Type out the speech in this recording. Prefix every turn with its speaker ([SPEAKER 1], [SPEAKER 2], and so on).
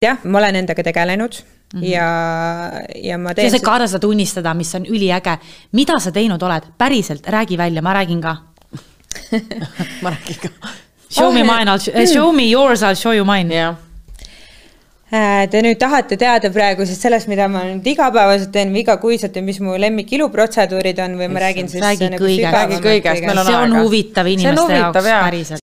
[SPEAKER 1] jah, ma olen endaga tegelenud mm
[SPEAKER 2] Mhm.
[SPEAKER 1] -hmm. ja, ja ma teen
[SPEAKER 3] sa said ka ära seda tunnistada, mis on üliäge. mida sa teinud oled, päriselt, räägi välja, ma räägin ka
[SPEAKER 2] ma räägin ka.
[SPEAKER 3] Show me mine, eh, show me yours, I will show you mine.
[SPEAKER 2] jah.
[SPEAKER 1] Äh, Te nüüd tahate teada praegusest sellest, mida ma nüüd igapäevaselt teen või igakuiselt ja mis mu lemmik iluprotseduurid on või ma räägin siis äh, nagu
[SPEAKER 3] Räägi kõigest.
[SPEAKER 1] sügavamalt
[SPEAKER 2] Räägi kõigest, meil
[SPEAKER 1] kõigest?
[SPEAKER 3] see on
[SPEAKER 2] aega.
[SPEAKER 3] huvitav
[SPEAKER 2] See on
[SPEAKER 3] inimeste
[SPEAKER 2] huvitav,
[SPEAKER 3] jaoks
[SPEAKER 2] jaa.
[SPEAKER 3] päriselt.